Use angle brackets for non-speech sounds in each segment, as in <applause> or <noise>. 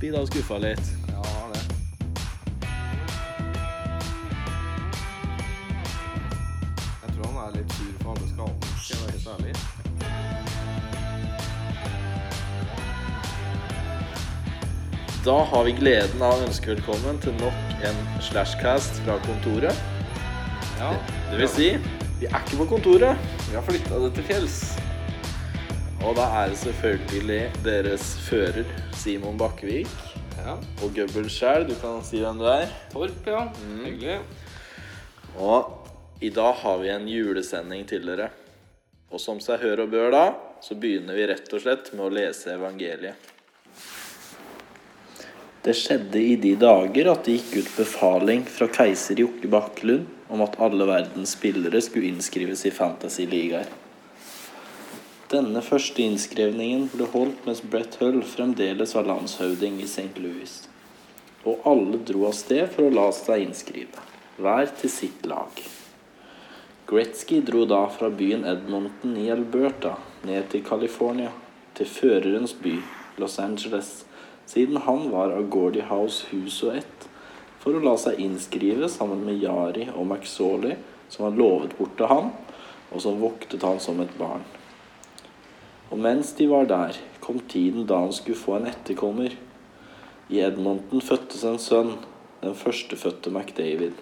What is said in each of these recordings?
tid og skuffa litt. Ja, har det. Jeg tror han er litt sur for alle skadene, skal jeg være helt ærlig. Da har vi gleden av å ønske velkommen til nok en slashcast fra kontoret. Ja. Det vil si, vi er ikke på kontoret. Vi har flytta det til fjells. Og da er det selvfølgelig deres fører, Simon Bakkevik, Ja. og Gubbel sjæl, du kan si hvem du er. Torp, ja. Mm. Hyggelig. Og i dag har vi en julesending til dere. Og som seg hør og bør da, så begynner vi rett og slett med å lese evangeliet. Det skjedde i de dager at det gikk ut befaling fra keiser Jokke Bakkelund om at alle verdens spillere skulle innskrives i fantasy-ligaer. Denne første innskrevningen ble holdt mens Brett Hull fremdeles var landshøvding i St. Louis og alle dro av sted for å la seg innskrive, hver til sitt lag. Gretzky dro da fra byen Edmonton i Alberta ned til California, til førerens by, Los Angeles, siden han var av Gordie House hus og ett, for å la seg innskrive sammen med Yari og McSorley, som var lovet bort til han, og som voktet han som et barn. Og mens de var der, kom tiden da han skulle få en etterkommer. I Edmonton fødtes en sønn, den førstefødte McDavid.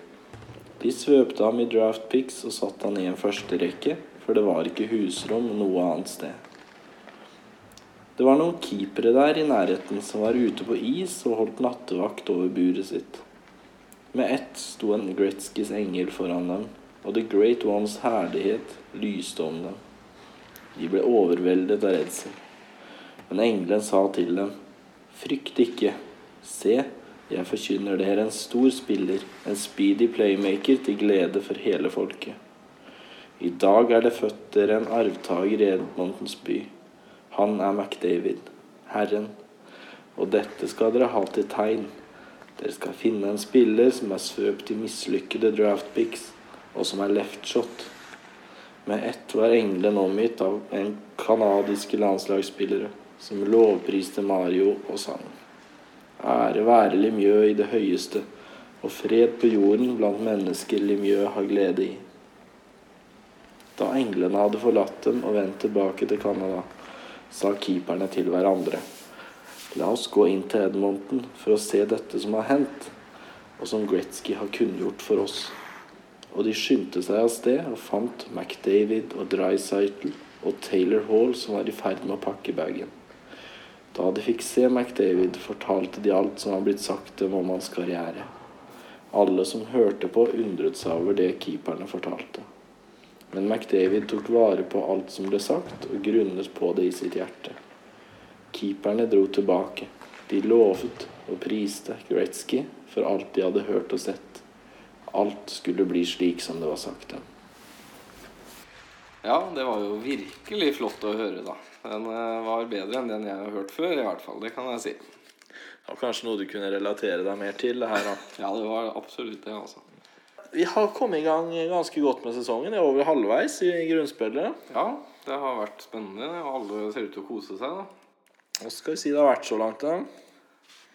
De svøpte ham i draft picks og satte han i en førsterekke, for det var ikke husrom noe annet sted. Det var noen keepere der i nærheten som var ute på is og holdt nattevakt over buret sitt. Med ett sto en Gretzkys engel foran dem, og The Great Ones herlighet lyste om dem. De ble overveldet av redsel. Men engelen sa til dem, frykt ikke. Se, jeg forkynner dere en stor spiller, en speedy playmaker til glede for hele folket. I dag er det født dere en arvtaker i Edmontons by. Han er McDavid, Herren. Og dette skal dere ha til tegn. Dere skal finne en spiller som er svøpt i mislykkede draftpicks, og som er leftshot. Med ett var engelen omgitt av en kanadiske landslagsspillere som lovpriste Mario og sang. Ære være Limieux i det høyeste, og fred på jorden blant mennesker Limieux har glede i. Da englene hadde forlatt dem og vendt tilbake til Canada, sa keeperne til hverandre. La oss gå inn til Edmonton for å se dette som har hendt, og som Gretzky har kunngjort for oss og de skyndte seg av sted og fant McDavid og Drycytle og Taylor Hall som var i ferd med å pakke bagen. Da de fikk se McDavid, fortalte de alt som var blitt sagt dem om hans karriere. Alle som hørte på, undret seg over det keeperne fortalte. Men McDavid tok vare på alt som ble sagt, og grunnet på det i sitt hjerte. Keeperne dro tilbake. De lovet og priste Gretzky for alt de hadde hørt og sett. Alt skulle bli slik som det var sagt dem. Ja, det var jo virkelig flott å høre, da. Den eh, var bedre enn den jeg har hørt før, i hvert fall. Det kan jeg si. Det var kanskje noe du kunne relatere deg mer til. det her da. Ja, det var absolutt det, altså. Vi har kommet i gang ganske godt med sesongen. Vi er over halvveis i grunnspillet. Ja, det har vært spennende, og alle ser ut til å kose seg, da. Hva skal vi si det har vært så langt? da?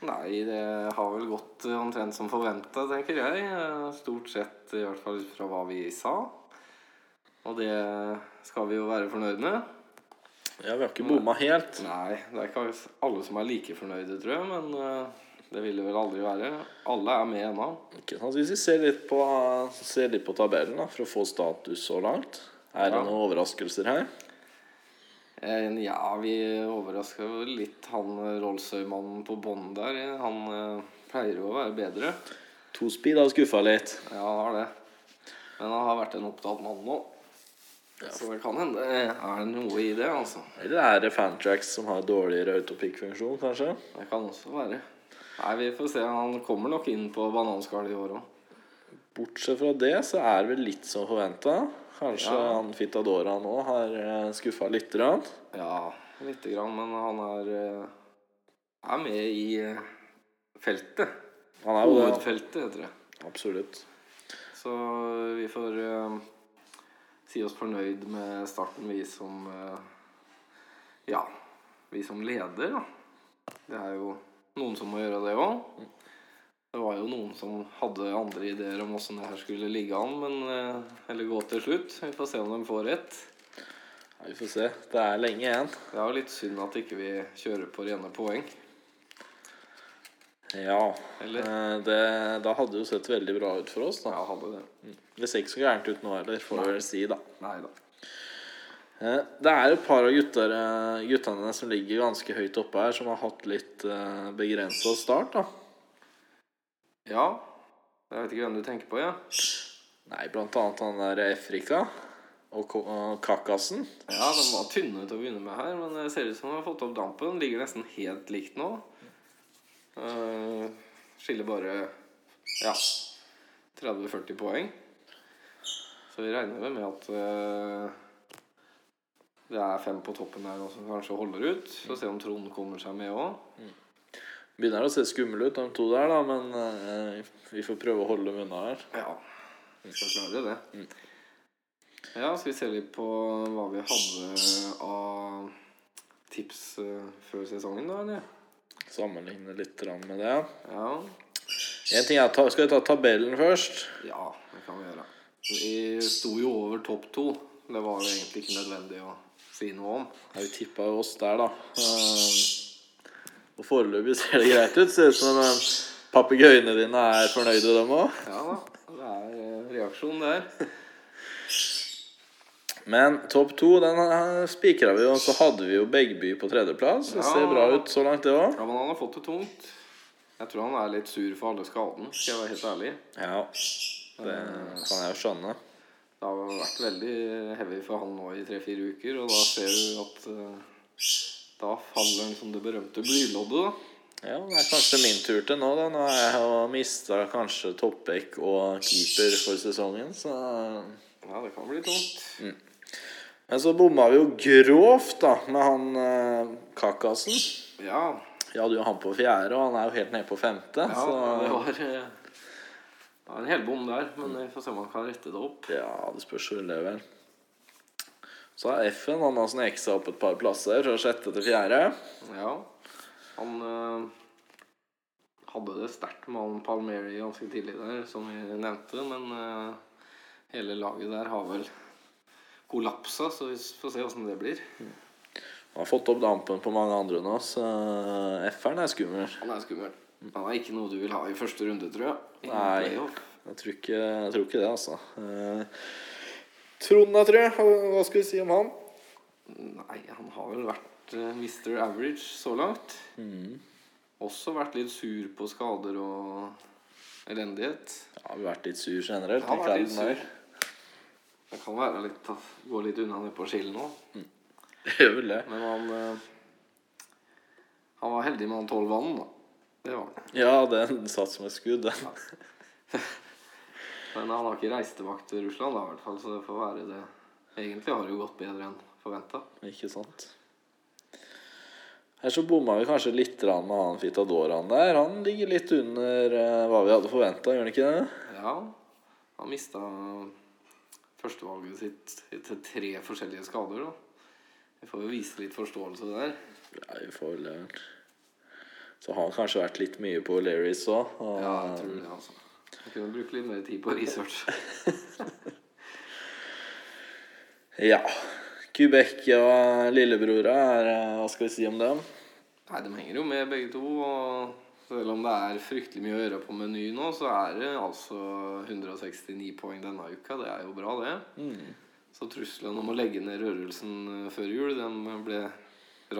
Nei, det har vel gått eh, omtrent som forventa, tenker jeg. Eh, Stort sett, i hvert fall ut fra hva vi sa. Og det skal vi jo være fornøyd med. Ja, Vi har ikke bomma helt. Nei, det er ikke alle som er like fornøyde, tror jeg, men eh, det vil det vel aldri være. Alle er med ennå. Ikke sant? Hvis vi ser litt på, ser litt på tabellen da, for å få status så langt Er det Ja. noen overraskelser her? Eh, Ja, vi overraska jo litt han eh, Rolsøy-mannen på bånn der. eh, Han eh, pleier jo å være bedre. Tospeed har skuffa litt. Ja, han har det. Men han har vært en opptatt mann nå. Så det kan hende det er noe i det, altså. Eller er det Fantrax som har dårligere autopic-funksjon, kanskje? Det kan også være. Nei, vi får se. Han kommer nok inn på bananskallet i år òg. Bortsett fra det så er det vel litt som forventa. Kanskje Ja. han Fitadora nå har skuffa lite grann. Ja, lite grann, men han er, eh, er med i eh, feltet. Han er jo det. Hovedfeltet, heter det. Absolutt. Så vi får eh, si oss fornøyd med starten, vi som eh, Ja, vi som leder, da. Det er jo Noen som må gjøre det òg. Det var jo noen som hadde andre ideer om åssen det her skulle ligge an, men eh, Eller gå til slutt. Vi får se om de får rett. Ja, vi får se. Det er lenge igjen. Det er jo litt synd at ikke vi kjører på rene poeng. Ja. Eller? eh, Det, da hadde det jo sett veldig bra ut for oss, da. Ja, hadde det. Det ser ikke så gærent ut nå heller, får vi vel si, da. Nei da. Eh, Det er et par av gutter, eh, guttene som ligger ganske høyt oppe her, som har hatt litt begrensa start, da. Ja. Jeg vet ikke hvem du tenker på, ja. Nei, blant annet han der Efrika og Ko- og Kakasen. Ja, de var tynne til å begynne med her, men det ser ut som de har fått opp dampen. De Ligger nesten helt likt nå. Eh, skiller bare ja, 30-40 poeng. Så vi regner vel med at eh, det er fem på toppen her nå som kanskje holder ut. Så se om Trond kommer seg med òg. Begynner å se skumle ut, de to der, da, men eh, vi får prøve å holde dem unna her. Ja, vi skal klare det. Ja, skal vi se litt på hva vi hadde av tips eh, før sesongen, da, eller? Sammenligne litt grann med det. Ja. En ting er, ta- Skal vi ta tabellen først? Ja, det kan vi gjøre. Vi sto jo over topp to. Det var jo egentlig ikke nødvendig å si noe om. Ja, vi tippa jo oss der, da. Eh, og foreløpig ser det greit ut. Ser ut som eh, papegøyene dine er fornøyde, dem òg. Ja da, det er eh, reaksjon der. Men topp to den spikra vi jo, og så hadde vi jo Begby på tredjeplass. Det ser Ja. bra ut så langt, det òg. Ja, Men han har fått det tungt. Jeg tror han er litt sur for alle skadene, skal jeg være helt ærlig. Ja, det kan jeg jo skjønne. Det har jo vært veldig heavy for han nå i tre-fire uker, og da ser du at eh, da faller han som det berømte blyloddet. da. Ja, det er kanskje min tur til nå, da. Nå har jeg jo mista kanskje toppback og keeper for sesongen, så Ja, det kan bli tungt. Men så bomma vi jo grovt, da, med han eh, Kakasen. Ja. Vi hadde jo han på fjerde, og han er jo helt nede på femte. ja det så var eh, det var en helbom der, men vi får se om han kan rette det opp. ja, det spørs hvor det er vel. Så har F-en han har sneket seg opp et par plasser, fra sjette til fjerde. Ja. Han eh, hadde det sterkt med han Palmieri ganske tidlig der, som vi nevnte, men eh, hele laget der har vel kollapsa, så vi får se åssen det blir. Han har fått opp dampen på mange andre enn oss. Eh, F-eren er skummel. Han er skummel. Han er ikke noe du vil ha i første runde, tror jeg. I Nei. playoff. Jeg tror ikke, jeg tror ikke det, altså. Eh, Trond, da, tror jeg. Hva- Hva skal vi si om han? Nei, han har vel vært eh, Mr. Average så langt. Mm. Også vært litt sur på skader og elendighet. Ja, har vært litt sur generelt. Han har vært litt Ikke all den sur. Det kan være litt gå litt unna ned på skillen nå. der. Gjør vel <laughs> det. Men han eh, Han var heldig med han tolvmannen, da. Det var han. Ja, den satt som et skudd, den. Men han har ikke reist tilbake til Russland, da, i hvert fall, så det får være det. Egentlig har det jo gått bedre enn forventa. Ikke sant? Her så bomma vi kanskje litt grann med han Fitadoran der. Han ligger litt under eh, hva vi hadde forventa, gjør han ikke det? Ja, han mista førstevalget sitt etter tre forskjellige skader, da. Vi får jo vise litt forståelse der. Nei, vi får vel eh, Så har han kanskje vært litt mye på Larrys òg. Og Ja, jeg tror det, altså. Jeg kunne bruke litt mer tid på research. ja. Quebec og lillebrora, er, eh, hva skal vi si om dem? Nei, de henger jo med begge to. Og selv om det er fryktelig mye å gjøre på Meny nå, så er det altså 169 poeng denne uka. Det er jo bra, det. Mm. Så trusselen om å legge ned rørelsen eh, før jul, den ble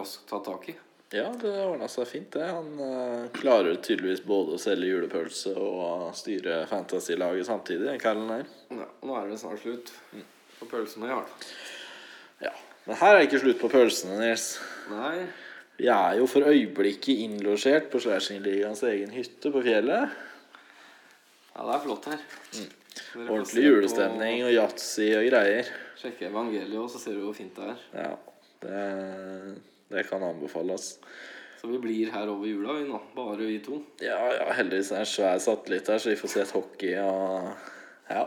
raskt tatt tak i. Ja, det ordna seg fint, det. Han eh, klarer tydeligvis både å selge julepølse og eh, styre fantasy-laget samtidig, den kallen her. Ja, og nå er det snart slutt Mm. på pølsene, i hvert fall. Ja. Men her er ikke slutt på pølsene, Nils. Nei, Vi er jo for øyeblikket innlosjert på Slashingligaens egen hytte på fjellet. ja, det er flott her. Dere får se Mm. Ordentlig julestemning og yatzy og greier. På, sjekke evangeliet, og så ser du hvor fint det er. Ja, det, det kan anbefales. Så vi blir her over jula, vi nå. Bare vi to. Ja, ja, heldigvis er det en svær satellitt her, så vi får sett hockey og Ja.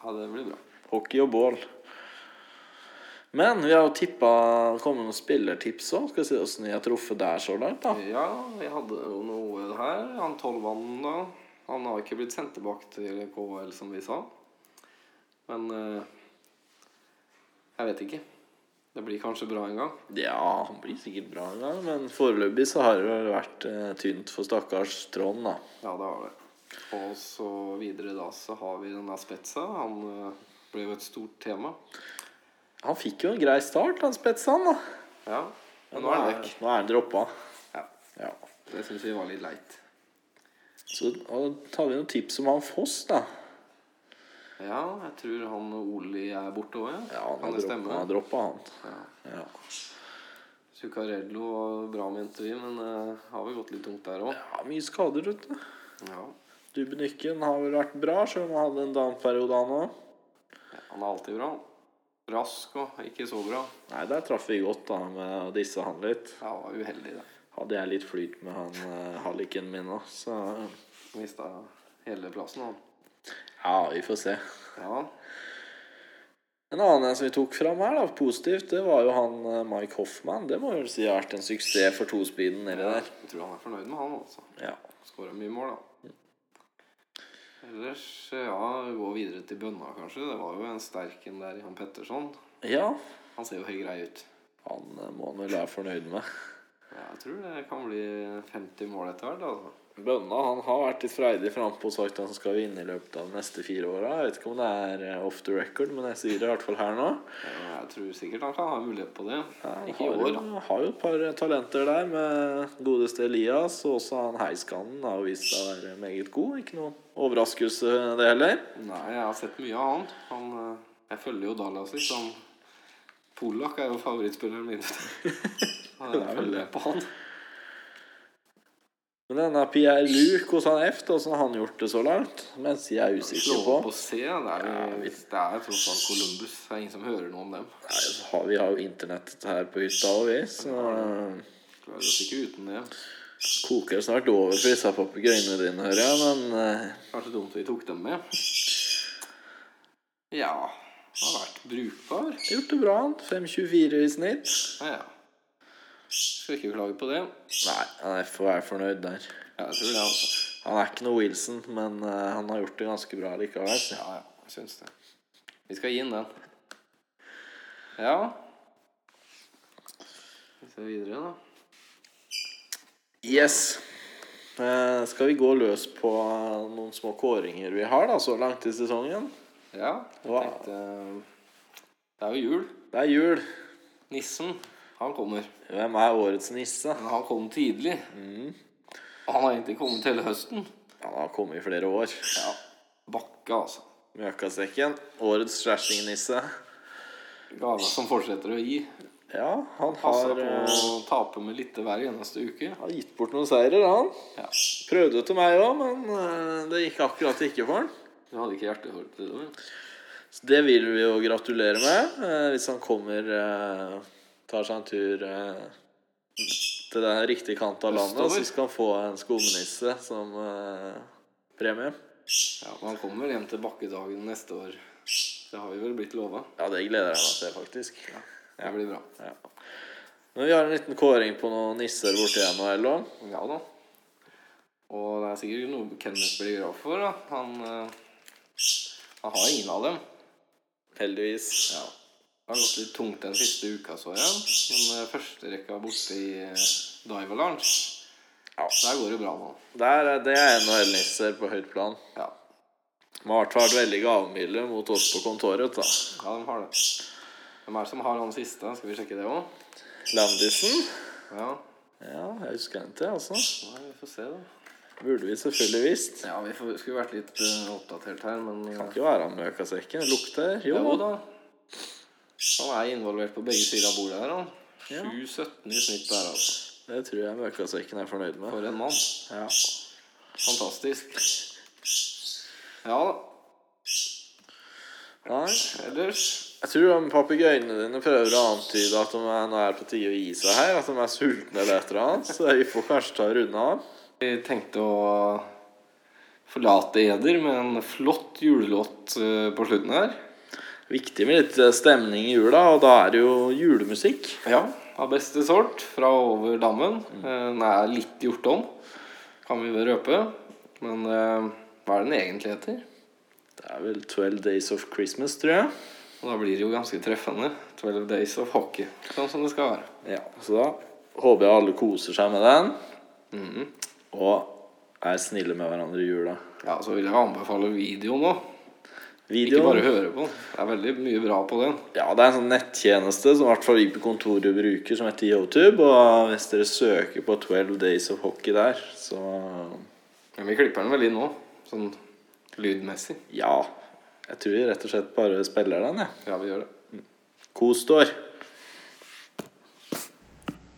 Ja, det blir bra. Hockey og bål. Men vi har jo tippa kommet noen spillertips òg. Skal vi se åssen vi har truffet der så langt, da. Ja, jeg hadde jo noe her. Han tolvannen, da. Han har ikke blitt sendt tilbake til KL, som vi sa. Men eh, jeg vet ikke. Det blir kanskje bra en gang. Ja, han blir sikkert bra en gang, men foreløpig så har det vel vært eh, tynt for stakkars Trond, da. Ja, det har det. Og så videre da så har vi denne Spetsa. Han eh, ble jo et stort tema. Han fikk jo en grei start, han Spetsan, da. Ja, men nå er han vekk. Nå er han droppa. Ja, Ja. det syns vi var litt leit. Så da tar vi noen tips om han Foss, da. Ja, jeg tror han og Oli er borte òg, ja. Ja, han har kan droppa- det han stemme? har droppa, han. Ja. Ja. Zuccarello var bra, mente vi, men eh, har vel gått litt tungt der òg. ja, mye skader, vet du. Ja. Dubnykken har vel vært bra, selv om han hadde en down-periode, han òg. Han er alltid bra. Rask og ikke så bra. Nei, der traff vi godt da med å disse han litt. Ja, han var uheldig, da. Hadde jeg litt flyt med han eh, halliken min òg, så Mista hele plassen, han. Ja, vi får se. Ja. En annen en som vi tok fram her, da, positivt, det var jo han eh, Mike Hoffman. Det må jeg vel si har vært en suksess for tospeeden nedi der. Jeg tror han er fornøyd med han, altså. Ja. Skåra mye mål, da. Ellers, ja, gå videre til bønna, kanskje. Det var jo en sterk en der i han Petterson. ja. Han ser jo helt grei ut. Han eh, må han vel være fornøyd med. Ja, jeg tror det kan bli 50 mål etter hvert, altså. Bønna han har vært litt freidig frampå og sagt at han skal vinne i løpet av de neste fire åra. Jeg vet ikke om det er eh, off the record, men jeg sier det i hvert fall her nå. Ja, Jeg tror sikkert han kan ha mulighet på det. Ja, han Ikke i har år, jo- da. Har jo et par eh, talenter der med godeste Elias, og også han Heiskanen har jo vist seg å være meget god. Ikke noe overraskelse, det heller. Nei, jeg har sett mye av han. han eh, jeg følger jo Dalasi som Polak er jo favorittspilleren min. <laughs> Han Det er jeg vel følger det. på han. Men denne Pierre Luc hos han F, da, hvordan har han gjort det så langt? Mens jeg er Slå usikker opp på. og se. Det er, Ja, jo- vi- det er tross alt Columbus. Det er ingen som hører noe om dem. Nei, så har- vi har jo internettet her på hytta òg, vi, så eh, Klarer oss ikke uten det. koker det snart over for disse papegøyene dine, hører jeg, men eh, Kanskje dumt vi tok dem med. Ja Har vært brukbar. Gjort det bra, han. 5,24 i snitt. Ja, ja. Skal ikke klage på det. Nei, han er for å være fornøyd der. Ja, jeg tror det, altså. Han er ikke noe Wilson, men eh, han har gjort det ganske bra likevel. Ja, ja. Jeg syns det. Vi skal gi inn den. Ja Vi ser videre, da. Yes. Eh, skal vi gå løs på eh, noen små kåringer vi har da, så langt i sesongen? Ja, jeg Wow. tenkte eh, Det er jo jul. Det er jul. Nissen, han kommer. Hvem er årets nisse? Men han kom tidlig. Mm. Og han har egentlig kommet hele høsten. Han har kommet i flere år. Ja, Bakke, altså. Mjøkasekken. Årets skjærstingnisse. Gava som fortsetter å gi. Ja, han Passa har, på eh, å tape med litt hver eneste uke. har gitt bort noen seirer, han. Ja. Prøvde til meg òg, men eh, det gikk akkurat ikke for han. Du hadde ikke hjerte for det? eller? Så det vil vi jo gratulere med. Eh, hvis han kommer eh, Tar seg en tur eh, til den riktige kant av landet, Østover. så skal han få en skumnisse som eh, premie. Ja, men han kommer hjem til bakkedagen neste år. Det har vi vel blitt lova. Ja, det gleder jeg meg til, faktisk. Det blir bra. Ja. Men vi har en liten kåring på noen nisser borti NHL òg. Ja da. Og det er sikkert noe Kenneth blir glad for. Da. Han, eh, han har ingen av dem. Heldigvis. Ja. Det har gått litt tungt den siste uka, så jeg. Men eh, første rekka er borte i eh, Dive Lounge. Ja. Der går det bra nå. Der, er- det er NHL-nisser på høyt plan. Ja, De har i hvert fall vært veldig gavmilde mot oss på kontoret. da ja de har det. Hvem er det som har han siste? Skal vi sjekke det òg? Landisen. Ja. Ja, jeg husker den til, altså. Nei, vi får se, da. Burde vi selvfølgelig visst. Ja, Vi får, skulle vært litt eh, oppdatert her, men eh, Kan ikke være han møkasekken. Det lukter Jo, Jo da. da. Han er involvert på begge sider av bordet her. han. Ja. 7-17 i snitt der, altså. Det tror jeg møkasekken er fornøyd med. For en mann. Ja. Fantastisk. Ja da. Nei. Ellers Jeg tror de papegøyene dine prøver å antyde at de er, nå er det på tide å gi seg her. At de er sultne eller et eller annet. Så vi får kanskje ta og runde av. Vi tenkte å forlate eder med en flott julelåt eh, på slutten her. Viktig med litt stemning i jula, og da er det jo julemusikk. Ja, av beste sort fra over dammen. Mm. Eh, Den er litt gjort om, kan vi vel røpe. Men eh, hva er den egentlig heter? Det er vel 'Twelve Days of Christmas', tror jeg. Og da blir det jo ganske treffende. 12 Days of Hockey, sånn som det skal være. Ja, Så da håper jeg alle koser seg med den, Mhm. og er snille med hverandre i jula. Ja, Så vil jeg anbefale videoen òg. Ikke Videoen bare høre på den. Det er veldig mye bra på den. Ja, det er en sånn nettjeneste som i hvert fall vi på kontoret bruker, som heter YouTube. Og hvis dere søker på 12 Days of Hockey der, så Men vi klipper den vel inn nå, sånn lydmessig. ja. Jeg tror jeg rett og slett bare spiller den, jeg. Ja, vi gjør det. Kos dere.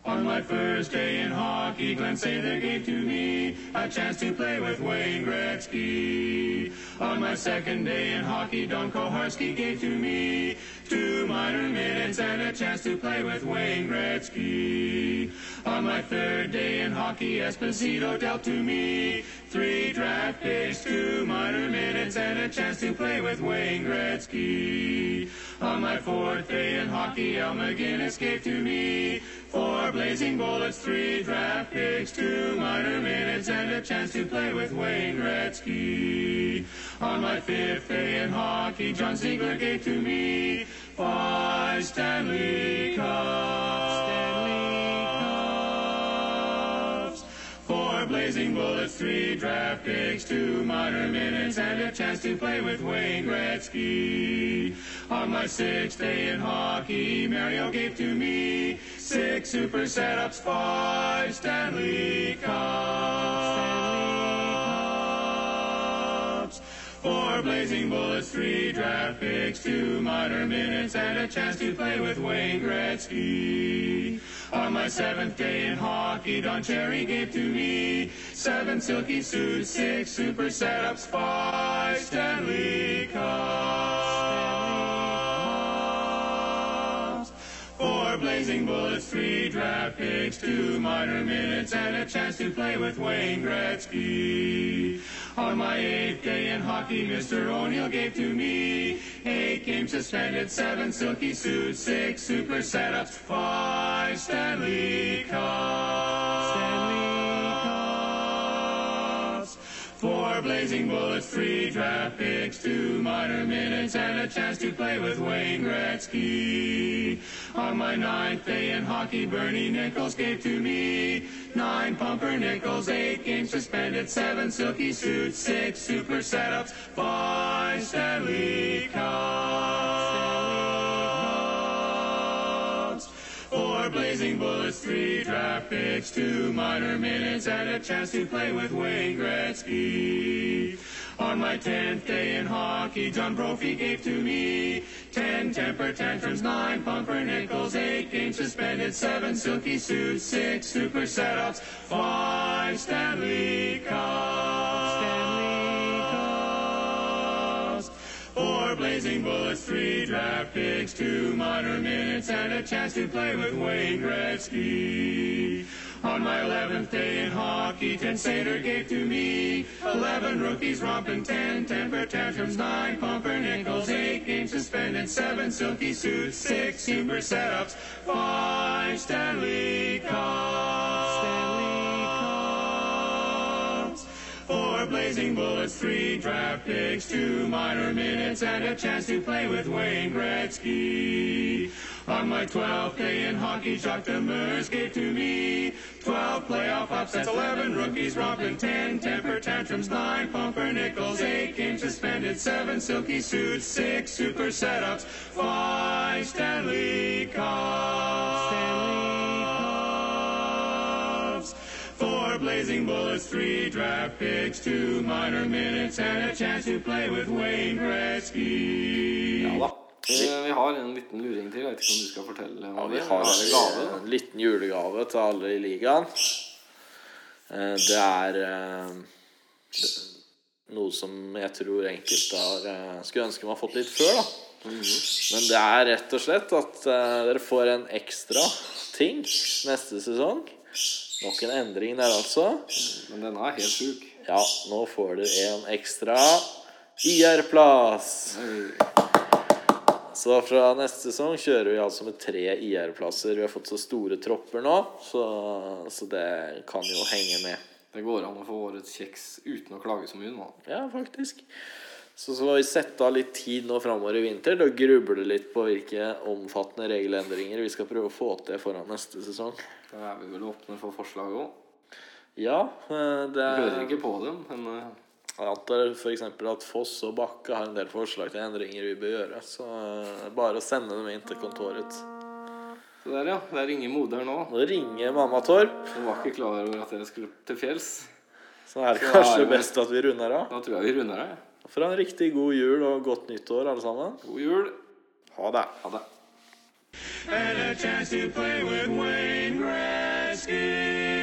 On my first day in hockey, Glenn Saylor gave to me a chance to play with Wayne Gretzky. On my second day in hockey, Don Koharski gave to me two minor minutes and a chance to play with Wayne Gretzky. On my third day in hockey, Esposito dealt to me three draft picks, two minor minutes and a chance to play with Wayne Gretzky. On my fourth day in hockey, El McGinnis gave to me four blazing bullets, three draft picks, two minor minutes, and a chance to play with Wayne Gretzky. On my fifth day in hockey, John Ziegler gave to me five Stanley Cups. Stanley Cups. Four blazing bullets, three draft picks, two minor minutes, and a chance to play with Wayne Gretzky. On my sixth day in hockey, Mario gave to me six super setups, five Stanley Cups. Four blazing bullets, three draft picks, two minor minutes, and a chance to play with Wayne Gretzky. On my seventh day in hockey, Don Cherry gave to me seven silky suits, six super setups, five Stanley Cups. Four blazing bullets, three draft picks, two minor minutes, and a chance to play with Wayne Gretzky. On my eighth day in hockey, Mr. O'Neill gave to me eight games suspended, seven silky suits, six super setups, five Stanley Cups. Stanley Cups. Four blazing bullets, three draft picks, two minor minutes, and a chance to play with Wayne Gretzky. On my ninth day in hockey, Bernie Nichols gave to me nine pumper nickels, eight games suspended, seven silky suits, six super setups, five Stanley Cups. Four blazing bullets, three draft picks, two minor minutes, and a chance to play with Wayne Gretzky. On my tenth day in hockey, John Brophy gave to me ten temper tantrums, nine pumpernickels, eight games suspended, seven silky suits, six super setups, five Stanley Cups. Stanley Cups. Four blazing bullets, three draft picks, two minor minutes, and a chance to play with Wayne Gretzky. On my 11th day in hockey, Ten Sater gave to me 11 rookies romping, 10 temper tantrums, 9 pumper nickels, 8 games suspended, 7 silky suits, 6 super setups, 5 Stanley Cups. Stanley Cups. Four blazing bullets, three draft picks, two minor minutes, and a chance to play with Wayne Gretzky. On my 12th day in hockey, Jacques Demers gave to me 12 playoff upsets, 11 rookies romping, 10 temper tantrums, 9 pumper nickels, 8 games suspended, 7 silky suits, 6 super setups, 5 Stanley Cups. Cups. Four blazing bullets, three draft picks, two minor minutes, and a chance to play with Wayne Gretzky. Ja da. Vi, vi har en liten luring til. Jeg vet ikke om du skal fortelle om Ja, vi det. har Er det gave? en eh, liten julegave til alle i ligaen. Eh, Det er eh, det- noe som jeg tror enkelte har eh, skulle ønske man har fått litt før. da Men det er rett og slett at eh, dere får en ekstra ting neste sesong. Nok en endring der, altså. Men denne er helt sjuk. Ja, nå får du en ekstra IR-plass. Hei. Så fra neste sesong kjører vi altså med tre IR-plasser. Vi har fått så store tropper nå, så, så det kan jo henge med. Det går an å få årets kjeks uten å klage så mye nå. Ja, faktisk. Så så må vi sette av litt tid nå framover i vinter til å gruble litt på hvilke omfattende regelendringer vi skal prøve å få til foran neste sesong. Da er vi vel åpne for forslag òg. Ja, eh, det er Hører ikke på dem, men eh, Jeg antar f.eks. at Foss og Bakke har en del forslag til endringer vi bør gjøre. Så eh, bare å sende dem inn til kontoret. Så der, ja. Der ringer moderen òg. Nå ringer mamma Torp, Hun var ikke klar over at jeg skulle til fjells. så er det Så er kanskje det- best at vi runder av. Da tror jeg vi runder av. jeg. For en riktig god jul og godt nyttår, alle sammen. God jul. Ha det. Ha det. and a chance to play with Wayne Gretzky.